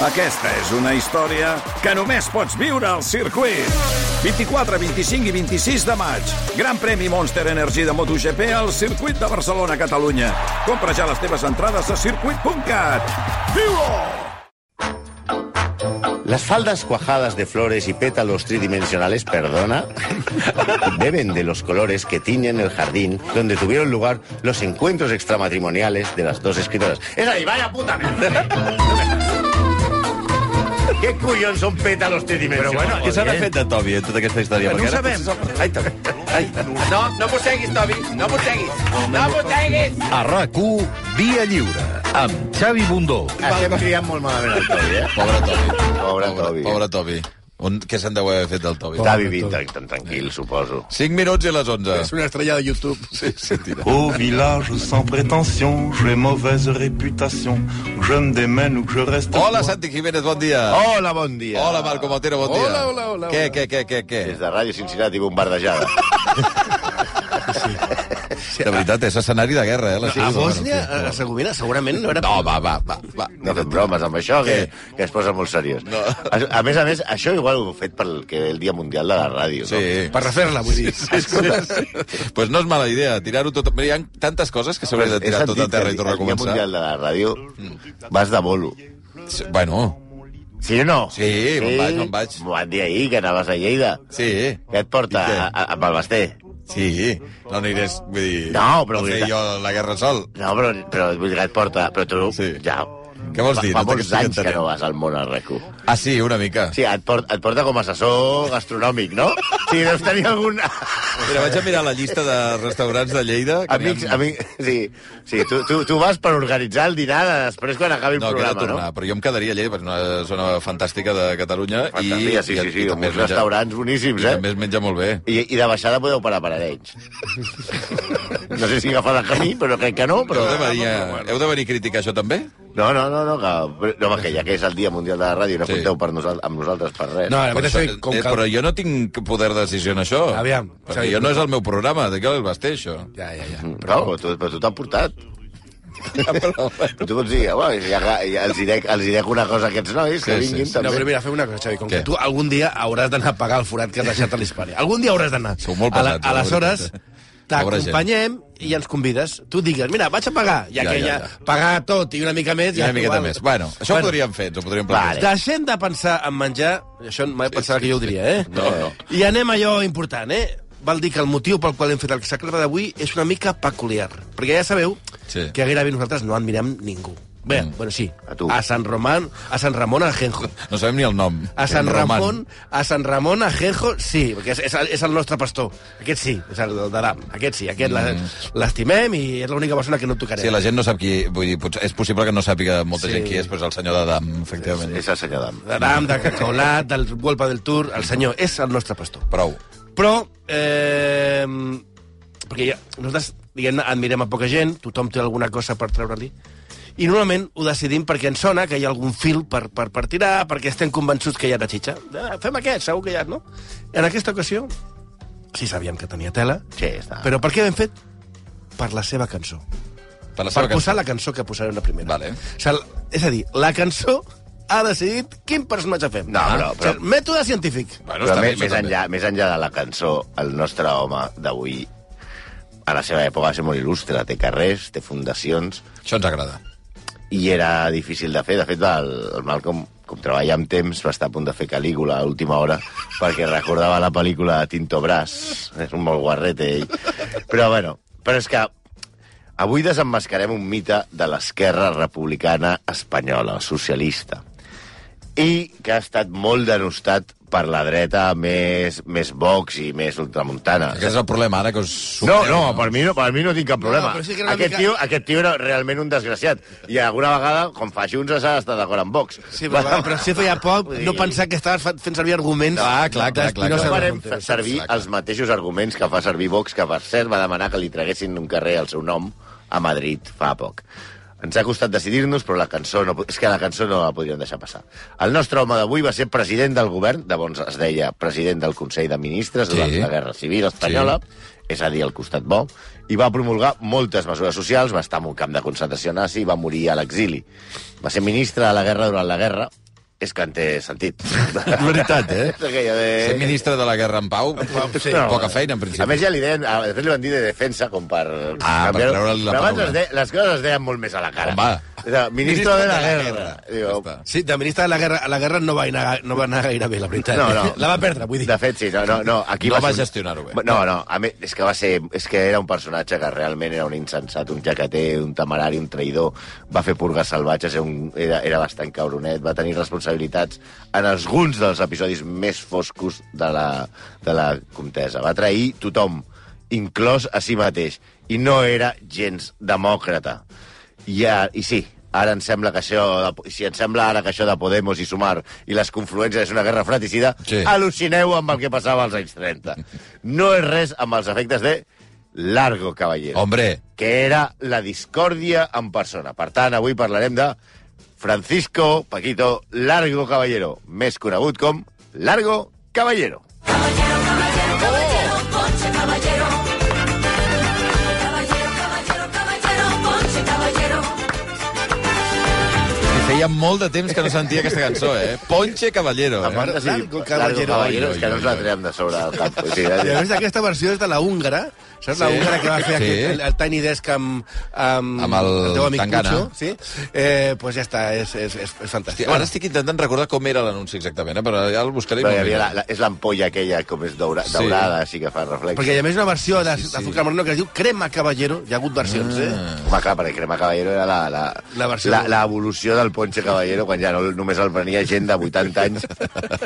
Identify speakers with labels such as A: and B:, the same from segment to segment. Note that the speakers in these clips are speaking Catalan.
A: Aquesta és una història que només pots viure al circuit. 24, 25 i 26 de maig. Gran premi Monster Energy de MotoGP al circuit de Barcelona, Catalunya. Compra ja les teves entrades a circuit.cat. viu -ho!
B: Las faldas cuajadas de flores y pétalos tridimensionales, perdona, beben de los colores que tiñen el jardín donde tuvieron lugar los encuentros extramatrimoniales de las dos escritoras. ¡Es ahí, vaya puta! mierda. ¡Qué cuyón son pétalos tridimensionales!
C: Bueno, què s'ha de fet de Toby pues en tota aquesta història?
B: No ho
C: ara
B: sabem.
C: potser- Ai, Toby. Ai.
D: No, no mosseguis, Tobi, no mosseguis. No mosseguis!
E: A RAC1, Via Lliure, amb Xavi Bundó.
B: Estem criant molt malament el Toby, eh?
C: Pobre Toby.
B: Pobre Toby.
C: Pobre Toby. On, què se'n deu haver fet del Toby?
B: Està vivint tan- tranquil, suposo.
C: 5 minuts i les 11.
F: una estrella de YouTube.
C: Sí, sí, tira.
G: Au village sans prétention, j'ai mauvaise réputation. Que je me démène ou que je reste.
C: Hola, Santi Jiménez, bon dia.
B: Hola, bon dia.
C: Hola, Marco Montero, bon dia.
F: Hola, hola, hola,
C: Què,
F: hola.
C: què, què, què, què?
B: Des de Ràdio Cincinnati bombardejada.
C: De veritat, és escenari de guerra, eh? La
F: A
B: Ah,
C: Xina.
F: Bòsnia, a a Segovina, segurament no era...
C: No, va, va, va. va.
B: No fem bromes amb això, que,
C: Què?
B: que es posa molt seriós.
C: No.
B: A, a més a més, això igual ho heu fet pel que el Dia Mundial de la Ràdio.
C: Sí.
F: Per refer-la, vull dir.
C: Sí, sí. Pues no és mala idea, tirar-ho tot... Mira, hi ha tantes coses que
B: No?
C: s'hauria de tirar tot a terra i tornar a
B: El Dia Mundial
C: començar. Mm.
B: de la Ràdio vas de bolo.
C: Sí, Bueno,
B: Sí o no?
C: Sí, me'n vaig, me'n vaig.
B: M'ho van dir ahir, que anaves a Lleida.
C: sí,
B: Què et porta
C: I què?
B: a, a, amb el Basté?
C: sí. No anirés, vull dir...
B: No, però
C: No
B: vull
C: fer
B: dir-
C: jo la guerra sol.
B: No, però, però vull dir que et porta... Però tu,
C: Sí.
B: ja...
C: Què vols dir?
B: Fa,
C: No
B: fa molts
C: t'estic
B: anys que
C: entenent.
B: no vas al món al RAC1.
C: Ah, sí, una mica.
B: Sí, et porta, et porta com a assessor gastronòmic, no? Sí, deus tenir algun...
C: Mira, vaig a mirar la llista de restaurants de Lleida. que
B: Amics,
C: n'hi ha-
B: amics, sí, sí tu, tu, tu vas per organitzar el dinar de després quan acabi el
C: No, que he de
B: programa,
C: tornar,
B: no?
C: però jo em quedaria a Lleida, perquè és una zona fantàstica de Catalunya.
B: Fantàstica,
C: i,
B: sí, sí, sí,
C: i,
B: amb
C: també
B: uns
C: es menja-
B: restaurants boníssims,
C: I
B: eh?
C: també es menja molt bé.
B: I, I de baixada podeu parar per Arenys. no sé si agafar el camí, però crec que no.
C: Però
B: Però...
C: heu de, venir, a- heu de venir a criticar això també?
B: No, no, no, no, que, no, home, que ja que és el Dia Mundial de la Ràdio, no
C: Sí.
B: compteu per nosal, amb nosaltres per res.
F: No, la
C: Però,
F: veritat
C: això,
F: és que... Com
C: eh,
F: que...
C: però jo no tinc poder de decisió en això.
F: Aviam,
C: Perquè
F: Xavi,
C: jo no és el meu programa, de què el vas té, això?
F: Ja, ja, ja.
C: Mm,
B: però... No, però tu, però tu t'han portat.
C: Però,
B: Però tu pots dir, home, ja, ja els, direc, els direc una cosa a aquests nois, que
C: Sí, sí,
B: vinguin
C: sí.
F: No,
B: també.
F: però mira, fem una cosa, Xavi. Com
C: Què?
F: que tu algun dia hauràs d'anar a pagar el forat que has deixat a l'Hispània. Algun dia hauràs d'anar.
C: Sou molt
F: A la-
C: pesats, la
F: Aleshores,
C: veritat, eh? Pobra gent.
F: t'acompanyem i ens convides. Tu digues, mira, vaig a pagar. Ja,
C: Ja,
F: que
C: ja,
F: ja,
C: ja.
F: pagar tot i una mica més...
C: una
F: ja
C: miqueta
F: igual.
C: més. Bueno, això ho podríem fer, ens ho podríem
B: Vale.
C: plantejar.
F: Deixem de pensar en menjar, això mai sí, pensava
C: sí,
F: que jo ho diria, eh?
C: No, no.
F: I anem a allò important, eh? Val dir que el motiu pel qual hem fet el Saclava d'avui és una mica peculiar, perquè ja sabeu
C: Sí.
F: que gairebé nosaltres no admirem ningú. Bé,
C: Mm.
F: mm. bueno, sí,
B: A tu.
F: a Sant Roman, a Sant Ramon Ajenjo.
C: No sabem ni el nom.
F: A Sant
C: Roman.
F: Ramon, a Sant Ramon Ajenjo, sí, perquè és, és, el- és el nostre pastor. Aquest sí, és el de l'AM. Aquest sí, aquest mm. l'estimem i és l'única persona que no tocarem.
C: Sí, la gent no sap qui... Vull dir, potser, és possible que no sàpiga molta
F: Sí.
C: gent qui és, però és el senyor d'Adam, efectivament.
B: És el senyor Dam.
F: De l'AM, de Cacaolat, del Golpa del Tour, el senyor és el nostre pastor.
C: Prou.
F: Però, eh, perquè ja, nosaltres, diguem admirem a poca gent, tothom té alguna cosa per treure-li, i normalment ho decidim perquè ens sona que hi ha algun fil per, per, per tirar, perquè estem convençuts que hi ha la xitxa. Eh, Fem aquest, segur que hi ha, no? En aquesta ocasió, sí sabíem que tenia tela,
B: Sí, està.
F: però per què hem fet? Per la seva cançó.
C: Per la
F: Per
C: seva
F: posar
C: cançó.
F: la cançó que posarem la primera.
C: Vale.
F: O sigui, l- és a dir, la cançó ha decidit quin personatge fem.
B: No, però- però-
F: O sigui, mètode científic.
C: Bueno,
B: Però
C: està bé,
B: més,
C: això
B: més,
C: també.
B: enllà, més enllà de la cançó, el nostre home d'avui, a la seva època va ser molt il·lustre, té carrers, té fundacions,
C: Això ens agrada.
B: i era difícil de fer. De fet, el, el Malcolm, com treballa amb temps, va estar a punt de fer Calígula a última hora perquè recordava la pel·lícula de Tinto Brass. És un molt guarrete, ell. Però, bueno, però és que avui desenmascarem un mite de l'esquerra republicana espanyola, socialista, i que ha estat molt denostat per la dreta més, més Vox i més ultramuntana.
C: Aquest és el problema, ara que us...
B: No, no, per mi no, per mi no tinc cap problema.
F: No, però sí que era una
B: aquest,
F: mica-
B: tio, aquest tio era realment un desgraciat. I alguna vegada, com fa junts, s'ha d'estar d'acord amb Vox.
F: Sí, però, va, però si feia poc, no pensar que estaves fa- fent servir arguments...
C: Ah, clar, clar, clar,
F: d'Espinosa
B: No
C: clar.
F: de
B: farem
F: Montero.
B: servir els mateixos arguments que fa servir Vox, que per cert va demanar que li traguessin un carrer al seu nom a Madrid fa poc. Ens ha costat decidir-nos, però la cançó no, po- és que la cançó no la podríem deixar passar. El nostre home d'avui va ser president del govern, de bons es deia president del Consell de Ministres
C: Sí.
B: durant la Guerra Civil Espanyola, és a dir, al costat bo, i va promulgar moltes mesures socials, va estar en un camp de concentració nazi i va morir a l'exili. Va ser ministre de la guerra durant la guerra, és que en té sentit.
C: És veritat, eh?
B: És aquella de...
C: Ser ministre de la Guerra en Pau, sí. poca feina, eh.
B: eh, A
C: en principi.
B: més, ja li deien, ah, després li van dir de defensa, com per...
C: Ah, per
B: canviar-ho.
C: treure'l la
B: Però abans
C: paraula.
B: les, de, les coses es deien molt més a la cara.
C: Home.
B: Era, ministro de la guerra.
C: Ja
B: Digo,
C: està.
F: Sí, de ministre de la guerra, a la guerra no va, anar, no va anar gaire bé, la veritat.
B: No, no.
F: La va perdre, vull dir.
B: de fet, sí, no, no, no, aquí
C: No va
B: ser un-
C: gestionar-ho bé.
B: No, no, a mi, és que va ser... És que era un personatge que realment era un insensat, un jacater, un temerari, un traïdor, va fer purgues salvatges, era, un, era, era bastant cabronet, va tenir responsabilitats en alguns dels episodis més foscos de la, de la comtesa. Va trair tothom, inclòs a si mateix, i no era gens demòcrata. I, a, i sí, ara em sembla que això de, si em sembla ara que això de Podemos i Sumar i les confluències és una guerra fratricida,
C: Sí.
B: sí. al·lucineu amb el que passava als anys 30. No és res amb els efectes de Largo Caballero,
C: Hombre,
B: que era la discòrdia en persona. Per tant, avui parlarem de Francisco Paquito Largo Caballero, més conegut com Largo Caballero.
C: que feia molt de temps que no sentia aquesta cançó, eh? Ponche Caballero,
B: A part
C: eh?
B: de ser-
F: Largo
B: Largo
F: Caballero.
B: Caballero, és que no ens la
C: Oi, oi, oi.
B: triem de sobre del cap. O sigui,
F: I a més, aquesta versió és de la húngara, saps? La
C: Sí.
F: húngara que va fer
C: Sí.
F: aquest, el, el Tiny Desk amb, amb,
C: Amb el
F: teu amic
C: Tangana.
F: Pucho, sí? Eh, pues ja està, és, és, és, és fantàstic.
C: Hòstia, ara estic intentant recordar com era l'anunci exactament, eh? però ja el buscaré. i
B: No,
C: m'ho
B: hi havia
C: miraré.
B: la, la, és l'ampolla aquella, com és daura,
C: Sí.
B: daurada, així que fa reflex.
F: Perquè hi ha més una versió de,
C: Sí, sí. Ah.
F: de Zucca Moreno que es diu Crema Caballero. Hi ha hagut versions, eh?
B: Home, clar, perquè Crema Caballero era la, la,
F: La versió-
B: la, la evolució del Ponche Caballero, quan ja no, només el prenia gent de 80 anys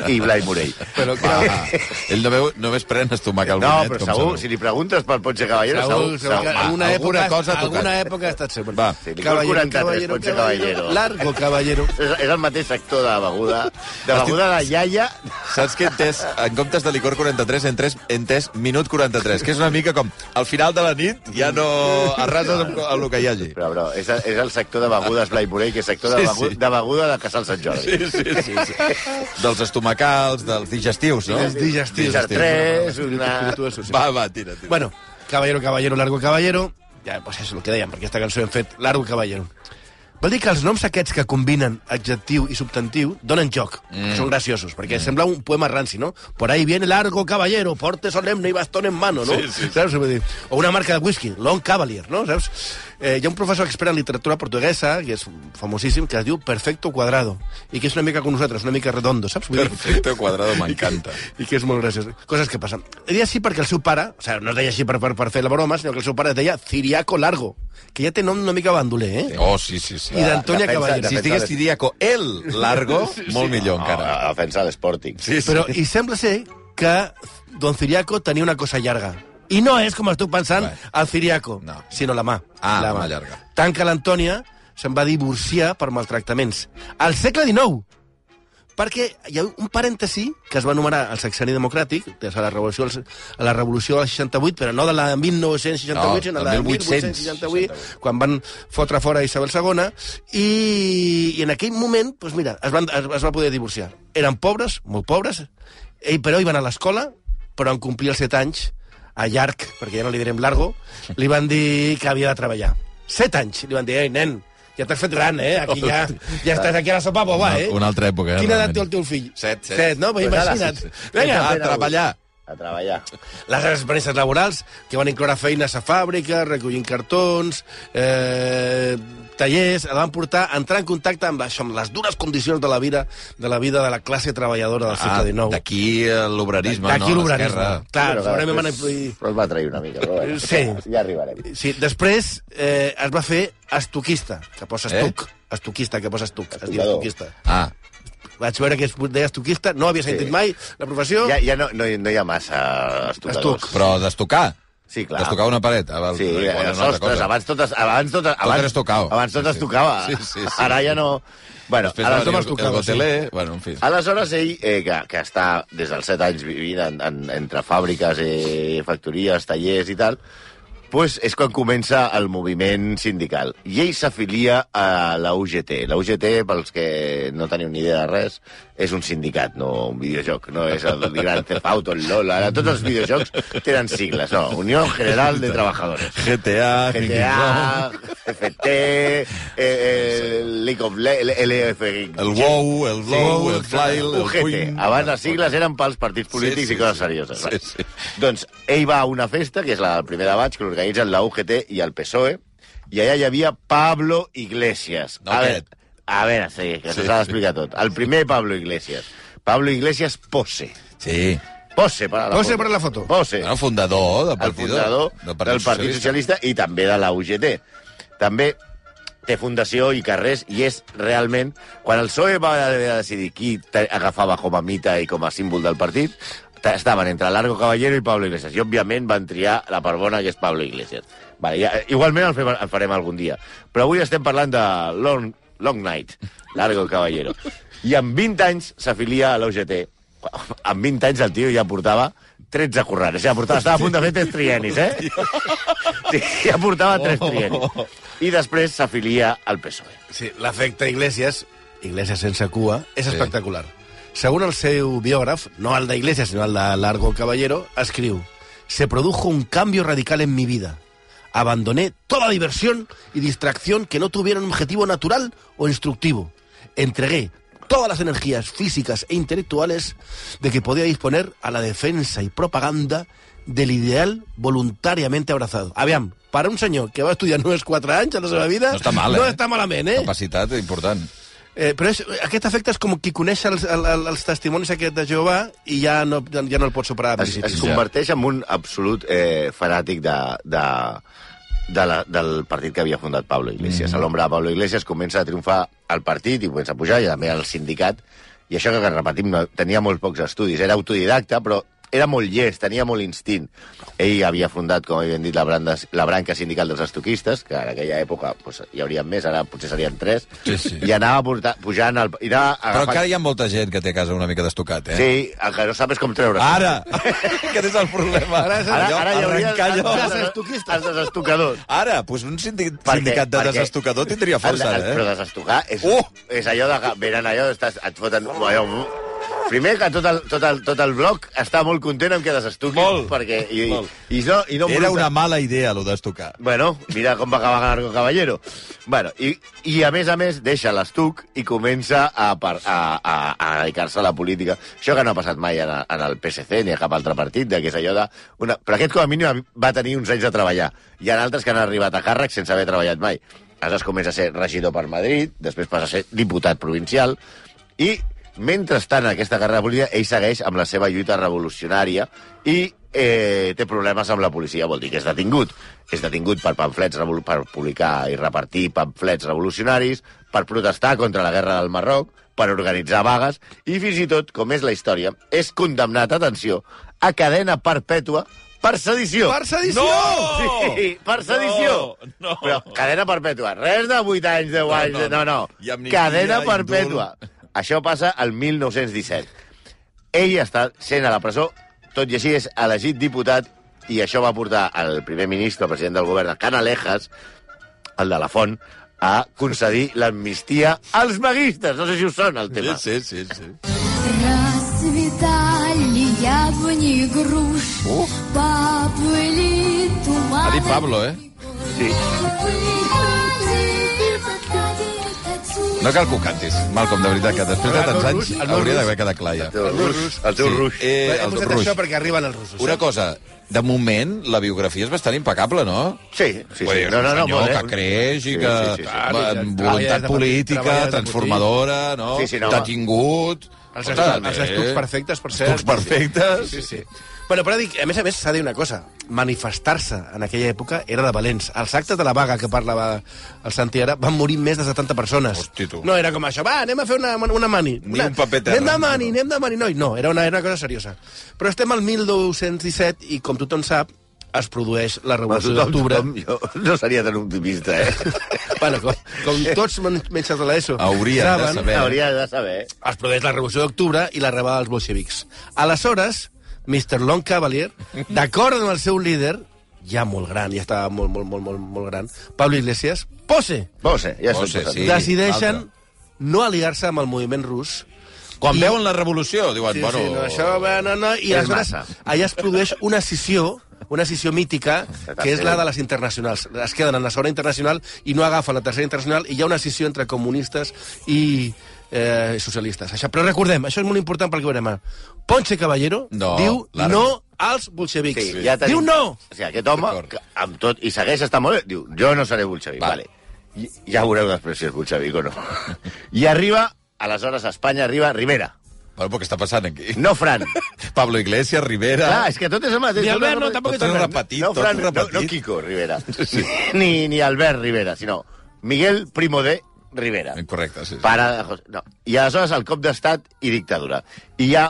B: i Blai Morell.
F: Però
C: Va,
F: crema...
C: ell no veu, només pren estomac eh, al
B: No,
C: bonet,
B: però
C: com
B: segur,
C: sabeu.
B: si li preguntes pel Ponche Caballero,
F: Segur,
B: segur, Ah.
F: segur, que alguna
C: alguna
F: època,
C: cosa ha tocat.
F: alguna època ha estat sempre.
C: Va.
B: Sí, licor 43, Ponche Caballero.
F: Largo Caballero.
B: És, és el mateix sector de beguda, de beguda de iaia.
C: Saps que entès, en comptes de licor 43, entès, entès minut 43, que és una mica com al final de la nit ja no arrases amb, amb el que hi hagi.
B: Però, però, és, el- és el sector de begudes Blai Morell, que és sector de,
C: Sí,
B: begu,
C: sí.
B: de beguda de Casal Sant Jordi.
C: Sí, sí, sí, sí. Dels estomacals, dels digestius, no?
F: Els digestius.
B: Digertres, una...
C: Va, va, tira, tira.
F: Bueno, Caballero, Caballero, Largo Caballero... Ja, pues això és el que dèiem, perquè aquesta cançó hem fet Largo Caballero. Vol dir que els noms aquests que combinen adjectiu i substantiu donen joc. Mm. Són graciosos, perquè mm. sembla un poema ranci, no? Por ahí viene Largo Caballero, porte solemne i bastón en mano, no? Sí, sí. Saps? Vull dir, O una marca de whisky, Long Cavalier, no? Saps? Eh, hi ha un professor expert en literatura portuguesa, que és famosíssim, que es diu Perfecto Cuadrado, i que és una mica com nosaltres, una mica redondo, saps? Vull dir,
C: Perfecto Cuadrado, m'encanta.
F: i que és molt graciós. Coses que passen. Ho deia així perquè el seu pare, o sigui, no es deia així per, per, per fer la broma, sinó que el seu pare es deia Ciriaco Largo, que ja té nom una mica bandoler, eh?
C: Oh, sí, sí, sí.
F: I d'Antonia
B: defensa-
F: Caballero.
C: Si estigués Tiriaco el largo, molt millor encara.
B: Ah, ofensa a l'Sporting.
C: Sí, sí.
F: Però, i sembla ser que don Ciriaco tenia una cosa llarga. I no és, com estic pensant,
C: Bueno.
F: el Ciriaco,
C: No.
F: sinó la mà.
C: Ah, la mà llarga.
F: Tanca l'Antònia, se'n va divorciar per maltractaments. Al segle XIX, perquè hi ha un parèntesi que es va anomenar el sexeni democràtic, des de la revolució, als- a la revolució del 68, però no de la 1968,
C: No,
F: sinó
C: del
F: de la
C: 1868,
F: 1868, quan van fotre fora Isabel II, i, i en aquell moment, doncs mira, es, van, es, es va poder divorciar. Eren pobres, molt pobres, ell, però hi van a l'escola, però en complir els 7 anys, a llarg, perquè ja no li direm largo, li van dir que havia de treballar. 7 anys! Li van dir, ei, nen, ja t'has fet gran, eh? Aquí ja, ja estàs aquí a la sopa boba, eh?
C: Una altra època, eh,
F: Quina edat
C: realment.
F: té el teu fill?
C: Set, set.
F: Set, no? Pues
B: Pues ara,
F: imagina't.
B: sí, sí.
F: Vinga,
C: a
B: Fet avui.
C: treballar.
B: A treballar.
F: les experiències laborals, que van incloure feines a fàbrica, recollint cartons, eh, tallers, la van portar a entrar en contacte amb, això, amb les dures condicions de la vida de la vida de la classe treballadora del
C: Ah,
F: segle XIX.
C: d'aquí eh, l'obrerisme, no?
F: D'aquí l'obrerisme.
C: L'esquerra.
F: Clar,
B: Però
F: segurament van
B: després-
F: influir...
B: Però es va trair una mica, però bueno,
F: Sí.
B: ja arribarem.
F: Sí, després eh, es va fer estoquista, que posa
C: Eh?
F: estuc. Eh? Estoquista, que posa estuc. Es diu
B: Estocador.
F: estoquista.
C: Ah,
F: Vaig veure que es deia estoquista, no havia sentit
B: Sí.
F: mai la professió.
B: Ja, ja no, no, hi- no hi ha massa estocadors.
F: Estuc.
C: però d'estocar.
B: Sí, clar.
C: D'estocar una paret. Ah, val,
B: Sí,
C: igual era una
B: els
C: altra
B: sostres,
C: cosa.
B: abans totes... Abans totes, abans,
C: era estocado.
B: Abans
C: Sí,
B: totes
C: sí.
B: tocava.
C: Sí, sí, sí.
B: Ara ja no... Bueno,
C: Després
B: aleshores-
C: va venir
F: es tocava,
C: el goteler, bueno, en fi.
B: Aleshores, ell, eh, que, que està des dels 7 anys vivint en, en, entre fàbriques, eh, factories, tallers i tal, després és quan comença el moviment sindical. I ell s'afilia a la UGT. La UGT, pels que no teniu ni idea de res, és un sindicat, no un videojoc. No és el Grand Theft Auto, el LOL. Ara tots els videojocs tenen sigles. No, Unió General de Trabajadores.
C: GTA,
B: GTA, FT, eh, eh, League of Legends...
C: el WoW, el WoW, el Fly, el
B: UGT.
C: Puig.
B: Abans les sigles eren pels partits polítics
C: Sí, sí,
B: i coses
C: sí.
B: serioses.
C: Sí,
B: vale.
C: sí.
B: Doncs ell va a una festa, que és la del primer de maig, que l'organitzen la UGT i el PSOE, E, i allà hi havia Pablo Iglesias.
C: No,
B: a
C: aquest.
B: veure, a veure, sí, que
C: Sí,
B: sí, s'ha
C: sí.
B: d'explicar tot. El primer Pablo Iglesias. Pablo Iglesias pose.
C: Sí.
B: Pose per a la
F: Pose
B: foto.
F: per a la foto.
B: Pose
C: Bueno, fundador del
B: el
C: partit,
B: fundador del Partit Socialista. i també de la UGT. També té fundació i carrers, i és realment... Quan el PSOE va haver de decidir qui te- agafava com a mita i com a símbol del partit, ta- estaven entre Largo Caballero i Pablo Iglesias. I, òbviament, van triar la part bona, que és Pablo Iglesias. Vale, ja, igualment el, fem, el farem algun dia. Però avui estem parlant de Long, long Night, Largo Caballero. I amb 20 anys s'afilia a l'UGT. Amb 20 anys el tio ja portava 13 curranes. Ja portava, estava a punt de fer tres trienis, eh? Sí, ja portava tres trienis. I després s'afilia al PSOE.
F: Sí, l'efecte Iglesias, Iglesias sense cua, és espectacular. Según el seu biògraf, no el d'Iglesias, sinó el de Largo Caballero, escriu «Se produjo un cambio radical en mi vida. Abandoné toda diversión y distracción que no tuviera un objetivo natural o instructivo. Entregué todas las energías físicas e intelectuales de que podía disponer a la defensa y propaganda del ideal voluntariamente abrazado. Aviam, para un senyor que va estudiar només 4 anys a la seva vida...
C: No està mal,
F: no
C: eh?
F: està malament, eh?
C: Capacitat important.
F: Eh, però és, aquest efecte és com qui coneix els, el, el, els testimonis aquest de Jehovà i ja no, ja, ja no el pot superar.
B: Es, es
C: ja.
B: converteix en un absolut eh, fanàtic de, de, de la, del partit que havia fundat Pablo Iglesias. Mm. A l'ombra de Pablo Iglesias comença a triomfar al partit i comença a pujar, i també al sindicat. I això que, repetim, no, tenia molt pocs estudis. Era autodidacta, però era molt llest, tenia molt instint. Ell havia fundat, com havien dit, la, branda, la branca sindical dels estoquistes, que en aquella època pues, hi haurien més, ara potser serien tres,
C: Sí, sí.
B: i anava porta, pujant... El, i anava
C: Però
B: agafant...
C: encara hi ha molta gent que té a casa una mica d'estocat, eh?
B: Sí, el que no saps com treure.
C: Ara! Aquest és el problema. Ara,
B: Ara, ara hi hauria
C: arrencar allò.
B: els, els, els desestucadors.
C: Ara, doncs un sindic,
B: Perquè-
C: sindicat de
B: perquè-
C: desestocador tindria força,
B: El- el- Però
C: ara, eh?
B: desestocar és,
C: Uh!
B: és allò de... que Venen allò, estàs, et foten... Allò, primer que tot el, tot, el, tot el bloc està molt content amb que desestuquin.
C: Molt.
B: Perquè, i, i, i, no, i no
C: Era
B: embruta.
C: una mala idea, allò d'estocar.
B: Bueno, mira com va acabar Gargo Caballero. Bueno, i, i a més a més deixa l'estuc i comença a, par- a, a, a dedicar-se a la política. Això que no ha passat mai en, en el PSC ni a cap altre partit, de que és allò de... Una... Però aquest com a mínim va tenir uns anys de treballar. Hi ha altres que han arribat a càrrec sense haver treballat mai. Aleshores comença a ser regidor per Madrid, després passa a ser diputat provincial, i mentrestant en aquesta carrera política ell segueix amb la seva lluita revolucionària i eh, té problemes amb la policia, vol dir que és detingut. És detingut per pamflets revol- per publicar i repartir pamflets revolucionaris, per protestar contra la guerra del Marroc, per organitzar vagues i fins i tot, com és la història, és condemnat, atenció, a cadena perpètua per sedició.
F: Per sedició!
C: No!
B: Sí, per sedició.
C: No, no.
B: Però cadena perpètua. Res de 8 anys, 10
C: No,
B: anys...
C: no,
B: de- No, no.
C: I amnistia,
B: Cadena
C: indult.
B: perpètua. Això passa al 1917. Ell està sent a la presó, tot i així és elegit diputat, i això va portar al primer ministre, el president del govern, Canalejas, el de la Font, a concedir l'amnistia als maguistes. No sé si us sona el tema.
C: Sí, sí, sí. sí.
H: Расцветали яблони и груши, поплыли туманы.
C: Ha dit Pablo, eh? No cal que ho cantis, Malcolm, de veritat, que després de tants anys
F: El meu
C: hauria
F: rus.
C: d'haver quedat clar, ja.
B: El teu ruix. El teu ruix.
C: Eh,
F: He
C: el
F: posat
C: Ruix.
F: això perquè arriben els russos. eh?
C: Una cosa, de moment, la biografia és bastant impecable, no?
B: Sí, sí,
C: Vull
B: sí.
C: dir,
B: No, no, no,
C: un
B: molt,
C: senyor
B: eh?
C: que creix i
B: Sí,
C: que...
B: sí, sí, sí.
C: va,
F: Clar,
C: amb
F: ja
C: voluntat
F: està-
C: política,
F: treballa de
C: transformadora, no?
B: Sí, sí, no, home.
C: Detingut...
F: Els,
C: Ostres,
F: estucs, els
C: eh?
F: estucs perfectes, per cert.
C: Estucs perfectes.
F: Sí, sí. Bueno, però dic, a més a més s'ha de dir una cosa. Manifestar-se en aquella època era de valents. Els actes de la vaga que parlava el Santi ara van morir més de 70 persones.
C: Hosti, tu.
F: No era com això, va, anem a fer una, una mani.
C: Ni
F: Una-
C: un paper terra.
F: Anem de mani, anem de mani, noi. No, era una, era una cosa seriosa. Però estem al 1217 i, com tothom sap, es produeix la
B: Home,
F: Revolució
B: tothom,
F: d'Octubre.
B: tothom, jo no seria tan optimista, eh?
F: Bueno, com, com tots men- metges de l'ESO
C: Haurien de
F: saben,
C: saber. Bé.
B: Hauria de saber. eh?
F: es produeix la Revolució d'Octubre i l'arribada dels bolxevics. Aleshores, Mr. Long Cavalier, d'acord amb el seu líder, ja molt gran, ja estava molt, molt, molt, molt, molt gran, Pablo Iglesias, pose,
B: Bose, ja
C: Bose,
B: s'ho he
C: sí.
B: posat.
F: decideixen
C: altre.
F: no aliar-se amb el moviment rus.
C: Quan
F: I-
C: veuen la revolució, diuen,
F: Sí,
C: bueno...
F: sí, no, això, va, no, no, I
B: és
F: aleshores
B: massa.
F: allà es produeix una sessió una sessió mítica, que és la de les internacionals. Es queden en la segona internacional i no agafen la tercera internacional, i hi ha una sessió entre comunistes i eh, socialistes. Això, però recordem, això és molt important perquè ho veurem ara. Ponce Caballero
C: No,
F: diu
C: l'arma.
F: no als bolxevics.
B: Sí, ja tenim-
F: diu no!
B: O sigui, aquest home,
C: D'acord.
B: que amb tot, i segueix estant molt bé, diu, jo no seré bolxevic,
C: Va.
B: vale. I- Ja veureu després si és bolxevic o no. I arriba, aleshores a Espanya arriba Rivera,
C: Bueno, però què està passant aquí?
B: no Fran.
C: Pablo Iglesias, Rivera...
B: Clar, és que tot és el mateix.
F: Ni
B: tot
F: Albert,
B: és el
F: no,
B: mateix.
F: tampoc
C: Tot
F: és el
C: és
F: gran.
C: repetit,
B: no, Fran,
C: tot
B: no,
C: repetit.
B: no Kiko Rivera, ni, ni Albert Rivera, sinó Miguel Primo de Rivera.
C: Correcte, sí. sí.
B: Pare de José... No. I aleshores el cop d'estat i dictadura. I hi ha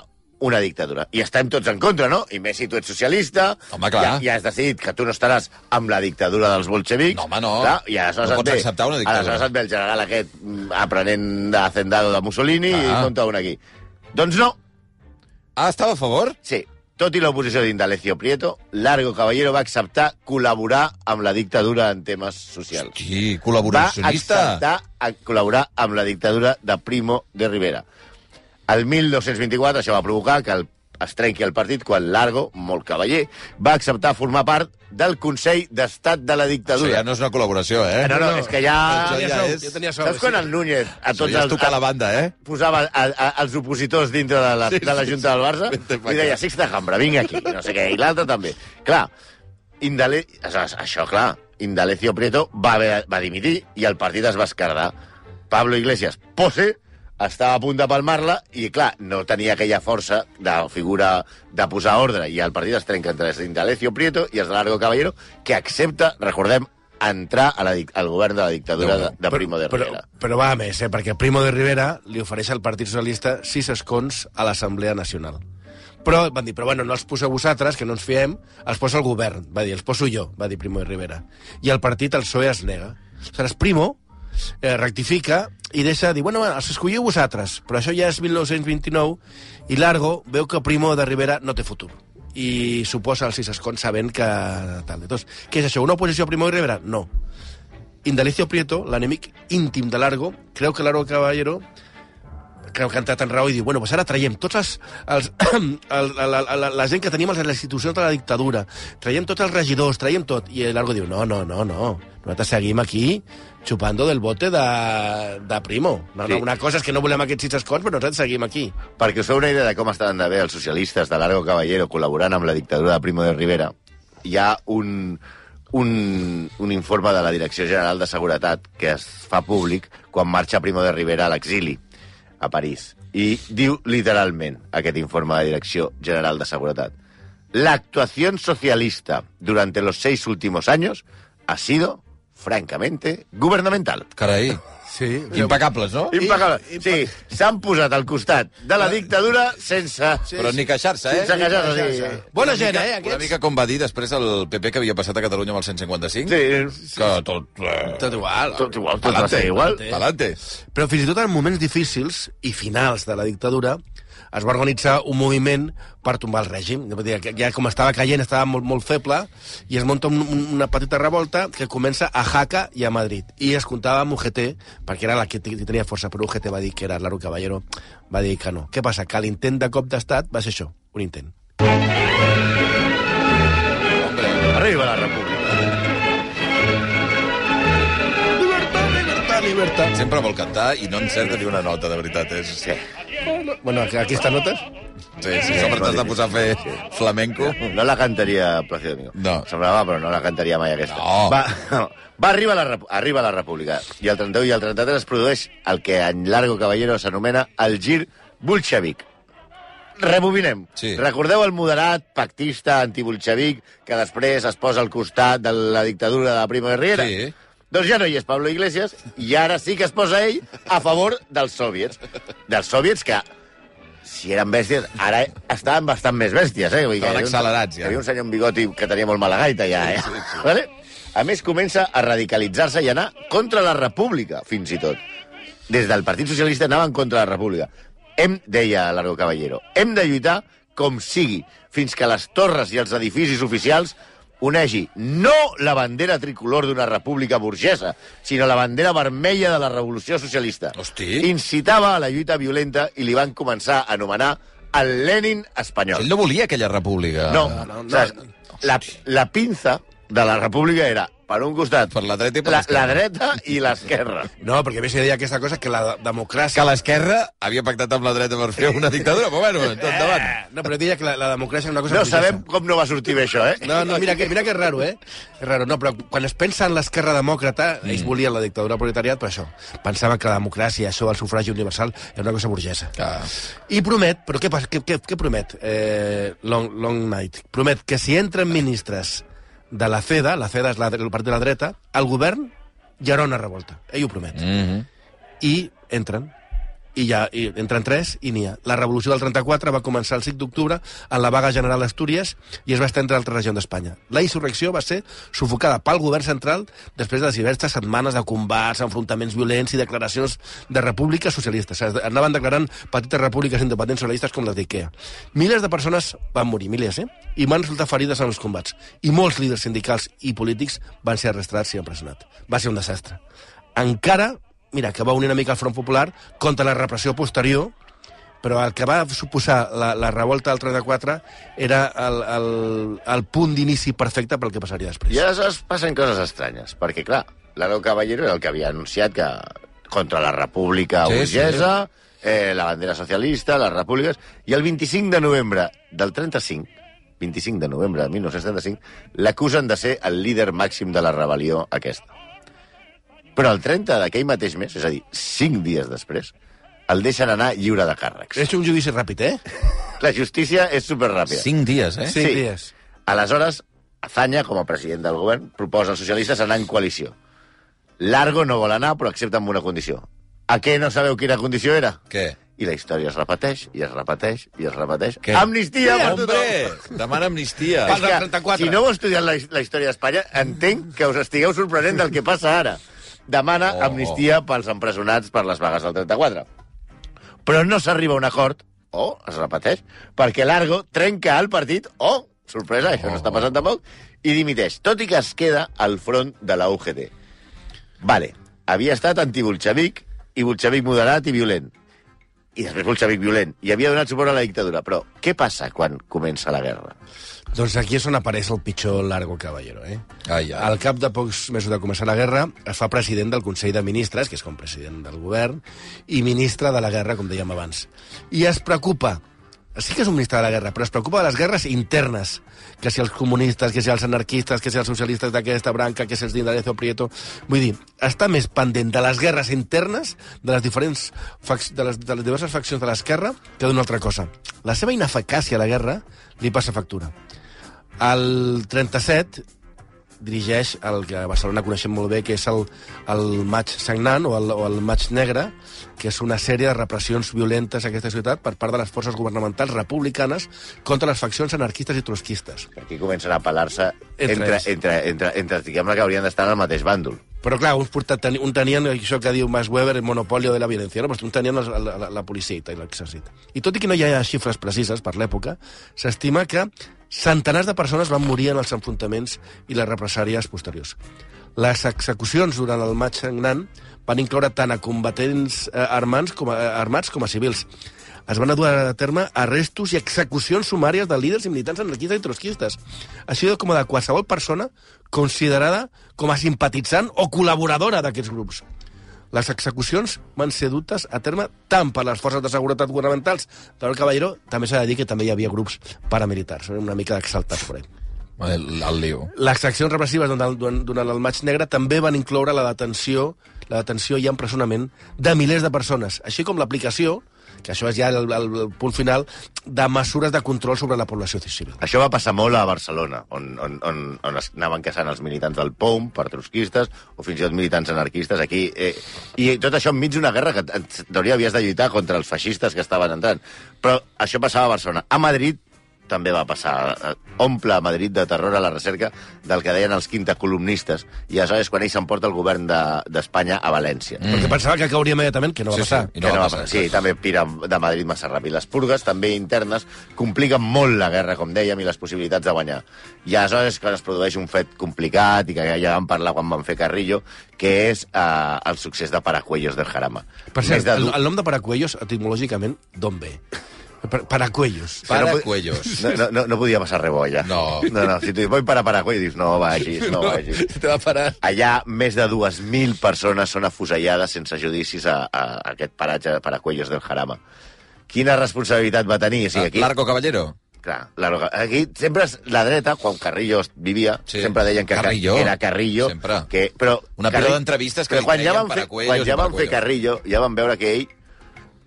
B: una dictadura. I estem tots en contra, no? I més si tu ets socialista...
C: Home, clar.
B: Ja, ja has decidit que tu no estaràs amb la dictadura dels bolxevics.
C: No, home, no.
B: Clar, I aleshores
C: No
B: et
C: pots
B: ve,
C: acceptar una dictadura.
B: Aleshores et ve el general aquest mm, aprenent d'Hacendado de Mussolini
C: Clar.
B: i monta un aquí. Doncs no,
C: Ah, estava a favor?
B: sí. Tot i l'oposició d'Indalecio Prieto, Largo Caballero va acceptar col·laborar amb la dictadura en temes socials
C: Hosti,
B: va
C: col·laboracionista.
B: acceptar a col·laborar amb la dictadura de Primo de Rivera. El 1224 això va provocar que el, es trenqui el partit quan Largo, molt cavaller, va acceptar formar part del Consell d'Estat de la
C: Això
B: dictadura.
C: ja no és una col·laboració, eh?
B: no, no, és que ja...
C: Això ja
F: sou,
C: és-
F: ja tenia sou,
B: Saps quan
F: sí.
B: el Núñez a
C: Això
B: tots
C: ja és
B: els,
C: tocar la banda, eh?
B: posava a, a, els opositors dintre de la,
C: Sí,
B: sí, de la
C: sí,
B: Junta
C: sí.
B: del Barça
C: Vete pa
B: i deia,
C: acá.
B: Sixta Jambra, vinga aquí, no sé què, i l'altre també. Clar, Indale... aleshores, Això, clar, Indalecio Prieto va, haver, va dimitir i el partit es va escardar. Pablo Iglesias, pose, estava a punt de palmar-la i, clar, no tenia aquella força de figura de posar ordre i el partit es trenca entre els d'Indalecio Prieto i els de Largo Caballero, que accepta, recordem, entrar a la, dic- al govern de la dictadura de, de Primo de Rivera.
F: Però, però va a més, eh? perquè Primo de Rivera li ofereix al Partit Socialista sis escons a l'Assemblea Nacional. Però van dir, però bueno, no els poseu vosaltres, que no ens fiem, els posa el govern. Va dir, els poso jo, va dir Primo de Rivera. I el partit, el PSOE, es nega. Aleshores, Primo eh, rectifica i deixa de dir, bueno, bueno, els escolliu vosaltres, però això ja és 1929, i Largo veu que Primo de Rivera no té futur i suposa els sis escons sabent que tal de tots. Què és això, una oposició a Primo de Rivera? No. Indalecio Prieto, l'enemic íntim de Largo, creu que Largo Caballero creu que ha entrat en raó i diu, bueno, pues ara traiem tots els, els el, la, la, la, la gent que tenim a les institucions de la dictadura, traiem tots els regidors, traiem tot. I el Largo diu, no, no, no, no, nosaltres seguim aquí xupando del bote de, de Primo. No, no,
B: Sí.
F: una cosa és que no volem aquests sis escons, però nosaltres seguim aquí.
B: Perquè us feu una idea de com estaven de bé els socialistes de Largo Caballero col·laborant amb la dictadura de Primo de Rivera, hi ha un, un, un informe de la Direcció General de Seguretat que es fa públic quan marxa Primo de Rivera a l'exili a París. I diu literalment aquest informe de Direcció General de Seguretat. La actuación socialista durante los seis últimos años ha sido, francamente, gubernamental.
C: Carai,
F: Sí.
C: impecables, no?
B: Impecable. Sí, s'han posat al costat de la dictadura sense...
C: Però ni queixar-se, eh?
B: Sense queixar-se, sí.
F: Bona
C: Una
F: gent,
C: mica-
F: eh,
C: Una
F: aquests?
C: mica com va dir després el PP que havia passat a Catalunya amb el 155,
B: Sí,
C: que tot... Eh,
F: Tot igual.
B: tot igual, tot va
C: Pa'lante,
B: ser igual.
C: Pa'lante.
F: Però fins i tot en moments difícils i finals de la dictadura es va organitzar un moviment per tombar el règim. Vull dir, que Ja com estava caient, estava molt, molt feble, i es munta un, un- una petita revolta que comença a Jaca i a Madrid. I es comptava amb UGT, perquè era la que t- tenia força, però UGT va dir que era Laro Caballero, va dir que no. Què passa? Que l'intent de cop d'estat va ser això, un intent.
B: Arriba la república.
F: Libertad, libertad, libertad.
C: Sempre vol cantar i no encerta ni una nota, de veritat. És... Sí,
F: Bueno, aquesta nota...
C: sí, sí. Sobre t'has de posar a fer flamenco.
B: No la cantaria Plácido Domingo.
C: No.
B: Semblava, però no la cantaria mai aquesta.
C: No.
B: Va, va arribar la, rep- arriba la república. I el 31 i el 33 es produeix el que en Largo Caballero s'anomena el gir bolxevic. Rebobinem.
C: Sí.
B: Recordeu el moderat pactista antibolxevic que després es posa al costat de la dictadura de la Primo de Riera?
C: Sí.
B: Doncs ja no hi és Pablo Iglesias i ara sí que es posa ell a favor dels soviets. Dels soviets que, si eren bèsties, ara estaven bastant més bèsties. Eh? Vull dir que hi havia
C: Estaven
B: un-
C: accelerats, ja.
B: Hi havia un senyor amb bigoti que tenia molt mala gaita ja. Eh? Sí, sí. Vale? A més, comença a radicalitzar-se i anar contra la república, fins i tot. Des del Partit Socialista anaven contra la república. Hem, deia Largo Caballero, hem de lluitar com sigui, fins que les torres i els edificis oficials Onegi no la bandera tricolor d'una república burgesa, sinó la bandera vermella de la Revolució Socialista.
C: Hosti.
B: Incitava a la lluita violenta i li van començar a anomenar el Lenin espanyol.
C: Ell no volia aquella república.
B: No, o sigui, la, la pinza de la república era, per un costat,
C: Per la dreta i per
B: la,
C: l'esquerra.
B: la dreta i l'esquerra.
F: No, perquè a més hi deia aquesta cosa que la democràcia...
C: Que l'esquerra havia pactat amb la dreta per fer una dictadura, però bueno, tot endavant.
F: Eh, no, però deia que la, la democràcia és una cosa...
B: No
F: burgesa.
B: sabem com no va sortir bé això, eh?
F: No, no, mira que, mira que és raro, eh? És raro, no, però quan es pensa en l'esquerra demòcrata, ells volien la dictadura proletariat per això. Pensaven que la democràcia, això, el sufragi universal, era una cosa burgesa.
C: Ah.
F: I promet, però què, pas- què, què, què promet eh, long, long Night? Promet que si entren ministres de la CEDA, la CEDA és la, el partit de la dreta, al govern hi haurà una revolta. Ell ho promet.
C: Mm -hmm.
F: I entren. I ja i entren tres i n'hi ha. La revolució del 34 va començar el 5 d'octubre en la vaga general d'Astúries i es va estendre a altres regions d'Espanya. La insurrecció va ser sufocada pel govern central després de les diverses setmanes de combats, enfrontaments violents i declaracions de repúbliques socialistes. Es- Anaven declarant petites repúbliques independents socialistes com les d'Ikea. Milers de persones van morir, milers, eh? I van resultar ferides en els combats. I molts líders sindicals i polítics van ser arrestats i empresonats. Va ser un desastre. Encara mira, que va unir una mica el Front Popular contra la repressió posterior, però el que va suposar la, la revolta del 34 era el, el, el punt d'inici perfecte pel que passaria després.
B: I aleshores passen coses estranyes, perquè, clar, l'Aro Caballero era el que havia anunciat que contra la república
C: Sí,
B: sí, burgesa, sí. Eh, la bandera socialista, les repúbliques... I el 25 de novembre del 35, 25 de novembre de 1935, l'acusen de ser el líder màxim de la rebel·lió aquesta. Però el 30 d'aquell mateix mes, és a dir, 5 dies després, el deixen anar lliure de càrrecs.
F: És un judici ràpid, eh?
B: La justícia és superràpida.
C: Cinc dies, eh?
F: Cinc sí. dies.
B: Aleshores, Azanya, com a president del govern, proposa als socialistes anar en coalició. Largo no vol anar, però accepta amb una condició. A què no sabeu quina condició era?
C: Què?
B: I la història es repeteix, i es repeteix, i es repeteix.
C: Què?
B: Amnistia per
C: Hombre,
B: tothom!
C: demana amnistia.
F: Pal
B: És
F: del
B: que,
F: 34.
B: Si no heu estudiat la, his- la història d'Espanya, entenc que us estigueu sorprenent del que passa ara. Demana
C: Oh.
B: oh. amnistia pels empresonats per les vagues del 34. Però no s'arriba a un acord, o oh, es repeteix, perquè Largo trenca el partit, o, oh, sorpresa, això no està passant tampoc, i dimiteix, tot i que es queda al front de la UGT. Vale, havia estat antibolxevic i bolxevic moderat i violent. I després bolxevic violent. I havia donat suport a la dictadura. Però què passa quan comença la guerra?
F: Doncs aquí és on apareix el pitjor Largo Caballero, eh?
C: Ai, ai.
F: Al cap de pocs mesos de començar la guerra, es fa president del Consell de Ministres, que és com president del govern, i ministre de la guerra, com dèiem abans. I es preocupa sí que és un ministre de la guerra, però es preocupa de les guerres internes. Que si els comunistes, que si els anarquistes, que si els socialistes d'aquesta branca, que si els d'Indalecio Prieto... Vull dir, està més pendent de les guerres internes de les, diferents fac... de les, de les diverses faccions de l'esquerra que d'una altra cosa. La seva ineficàcia a la guerra li passa factura. El 37 dirigeix el que a Barcelona coneixem molt bé, que és el, el maig sagnant o el, o el maig negre, que és una sèrie de repressions violentes a aquesta ciutat per part de les forces governamentals republicanes contra les faccions anarquistes i trotskistes.
B: Aquí comencen a pelar-se
F: Entre
B: entre,
F: ells.
B: entre, entre, entre, diguem-ne que haurien d'estar al mateix bàndol.
F: Però, clar, uns porta, teni, un tenien això que diu Max Weber, el monopoli de la violència, no? Però un tenien la, la, la policia i l'exèrcit. I tot i que no hi ha xifres precises per l'època, s'estima que centenars de persones van morir en els enfrontaments i les represàries posteriors. Les execucions durant el maig sagnant van incloure tant a combatents eh, armats, com a, eh, armats com a civils. Es van dur a terme arrestos i execucions sumàries de líders i militants anarquistes i trotskistes, així com de qualsevol persona considerada com a simpatitzant o col·laboradora d'aquests grups. Les execucions van ser dutes a terme tant per les forces de seguretat governamentals del Caballero, també s'ha de dir que també hi havia grups paramilitars, eh, una mica d'exaltats per ahí.
C: El, el lío.
F: Les accions repressives durant, durant, durant el maig negre també van incloure la detenció, la detenció i empresonament de milers de persones, així com l'aplicació, que això és ja el, el, el punt final, de mesures de control sobre la població civil.
B: Això va passar molt a Barcelona, on, on, on, on es anaven caçant els militants del POUM per trotskistes o fins i tot militants anarquistes aquí. Eh, I tot això enmig d'una guerra que en teoria havies de lluitar contra els feixistes que estaven entrant. Però això passava a Barcelona. A Madrid també va passar. Eh, Omple Madrid de terror a la recerca del que deien els quinta columnistes i aleshores quan ell s'emporta el govern de- d'Espanya a València. Mm.
F: Perquè pensava que cauria immediatament, que no va
C: Sí, sí.
F: passar.
C: I
B: No que no va passar. Sí, també pira de Madrid massa ràpid. Les purgues, també internes, compliquen molt la guerra, com dèiem, i les possibilitats de guanyar. I aleshores quan es produeix un fet complicat, i que ja vam parlar quan vam fer Carrillo, que és eh, el succés de Paracuellos del Jarama.
F: Per cert,
B: Més
F: el,
B: du-
F: el nom de Paracuellos, etimològicament, d'on ve? Per- Paracuellos.
C: Para
B: no pod-
C: cuellos.
B: No, no, no, no podia passar res bo, allà.
C: No.
B: no, no. Si tu dius, vull parar a Paraguai, dius, no vagis, no vagis.
C: Te va parar.
B: Allà més de 2.000 persones són afusellades sense judicis a, a aquest paratge de Paracuellos del Jarama. Quina responsabilitat va tenir? O sigui, aquí,
C: Largo Caballero.
B: clar, la, aquí sempre es- la dreta, quan Carrillo vivia,
C: Sí.
B: sí. sempre deien que
C: Carrillo.
B: Carrillo, era Carrillo.
C: Sempre.
B: Que, però
C: Una pila d'entrevistes que
B: però
C: li
B: quan ja
C: treien
B: van fer,
C: Paracuellos
B: quan
C: i
B: ja van fer
C: Paracuellos.
B: Carrillo, ja van veure que ell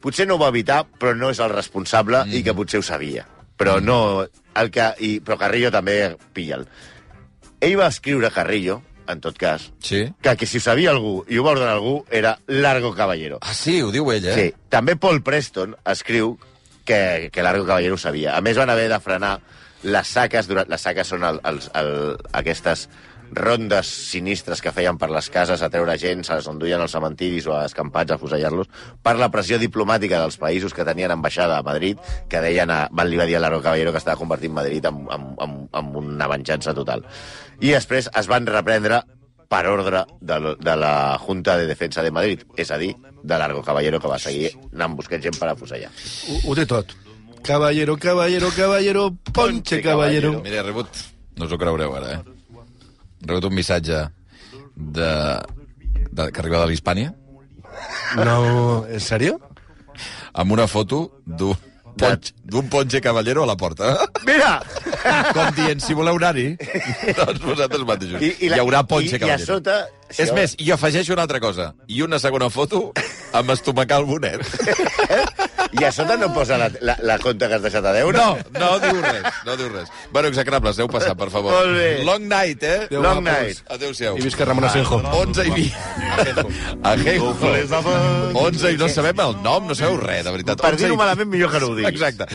B: potser no ho va evitar, però no és el responsable mm. i que potser ho sabia.
C: Mm.
B: Però no... El que, i, però Carrillo també pilla'l. Ell va escriure Carrillo, en tot cas,
C: Sí.
B: que, que si ho sabia algú i ho va ordenar algú era Largo Caballero.
C: Ah, sí, ho diu ella.
B: Sí. També Paul Preston escriu que, que Largo Caballero ho sabia. A més, van haver de frenar les saques. Durant, les saques són el, els, el, aquestes rondes sinistres que feien per les cases a treure gent, se les enduien als cementiris o a escampats a fusellar-los, per la pressió diplomàtica dels països que tenien ambaixada a Madrid, que deien a, van li va dir a Largo Caballero que estava convertint Madrid en, en, en, en una venjança total. I després es van reprendre per ordre de, de la Junta de Defensa de Madrid, és a dir, de Largo Caballero, que va seguir anant buscant gent per afusellar.
F: Ho, ho té tot. Caballero, caballero, caballero, ponche, caballero.
C: Mira, he rebut... No us ho creureu ara, eh? He rebut un missatge de... de... que arriba de l'Hispània
F: No, en sèrio?
C: amb una foto d'un ponx- d'un ponxe cavallero a la porta.
B: Mira!
C: Com dient, si voleu anar-hi, doncs vosaltres mateixos. hi haurà ponxe
B: i, i a
C: cavallero.
B: sota...
C: Sí, és més, i afegeixo una altra cosa. I una segona foto amb estomacal bonet.
B: I a sota no posa la, la, la conta que has deixat a deure?
C: No, no diu res, no diu res. Bueno, execrables, adeu passar, per favor.
B: Molt bé.
C: Long night, eh?
F: Adéu,
B: Long
F: guapos.
B: night.
C: Adéu-siau.
F: I visca Ramon Asenjo.
C: 11 i 20. Ajejo. 11 i no sabem el nom, no sabeu res, de veritat.
B: Per
C: 11 i
B: dir-ho malament, millor que no ho diguis.
C: Exacte.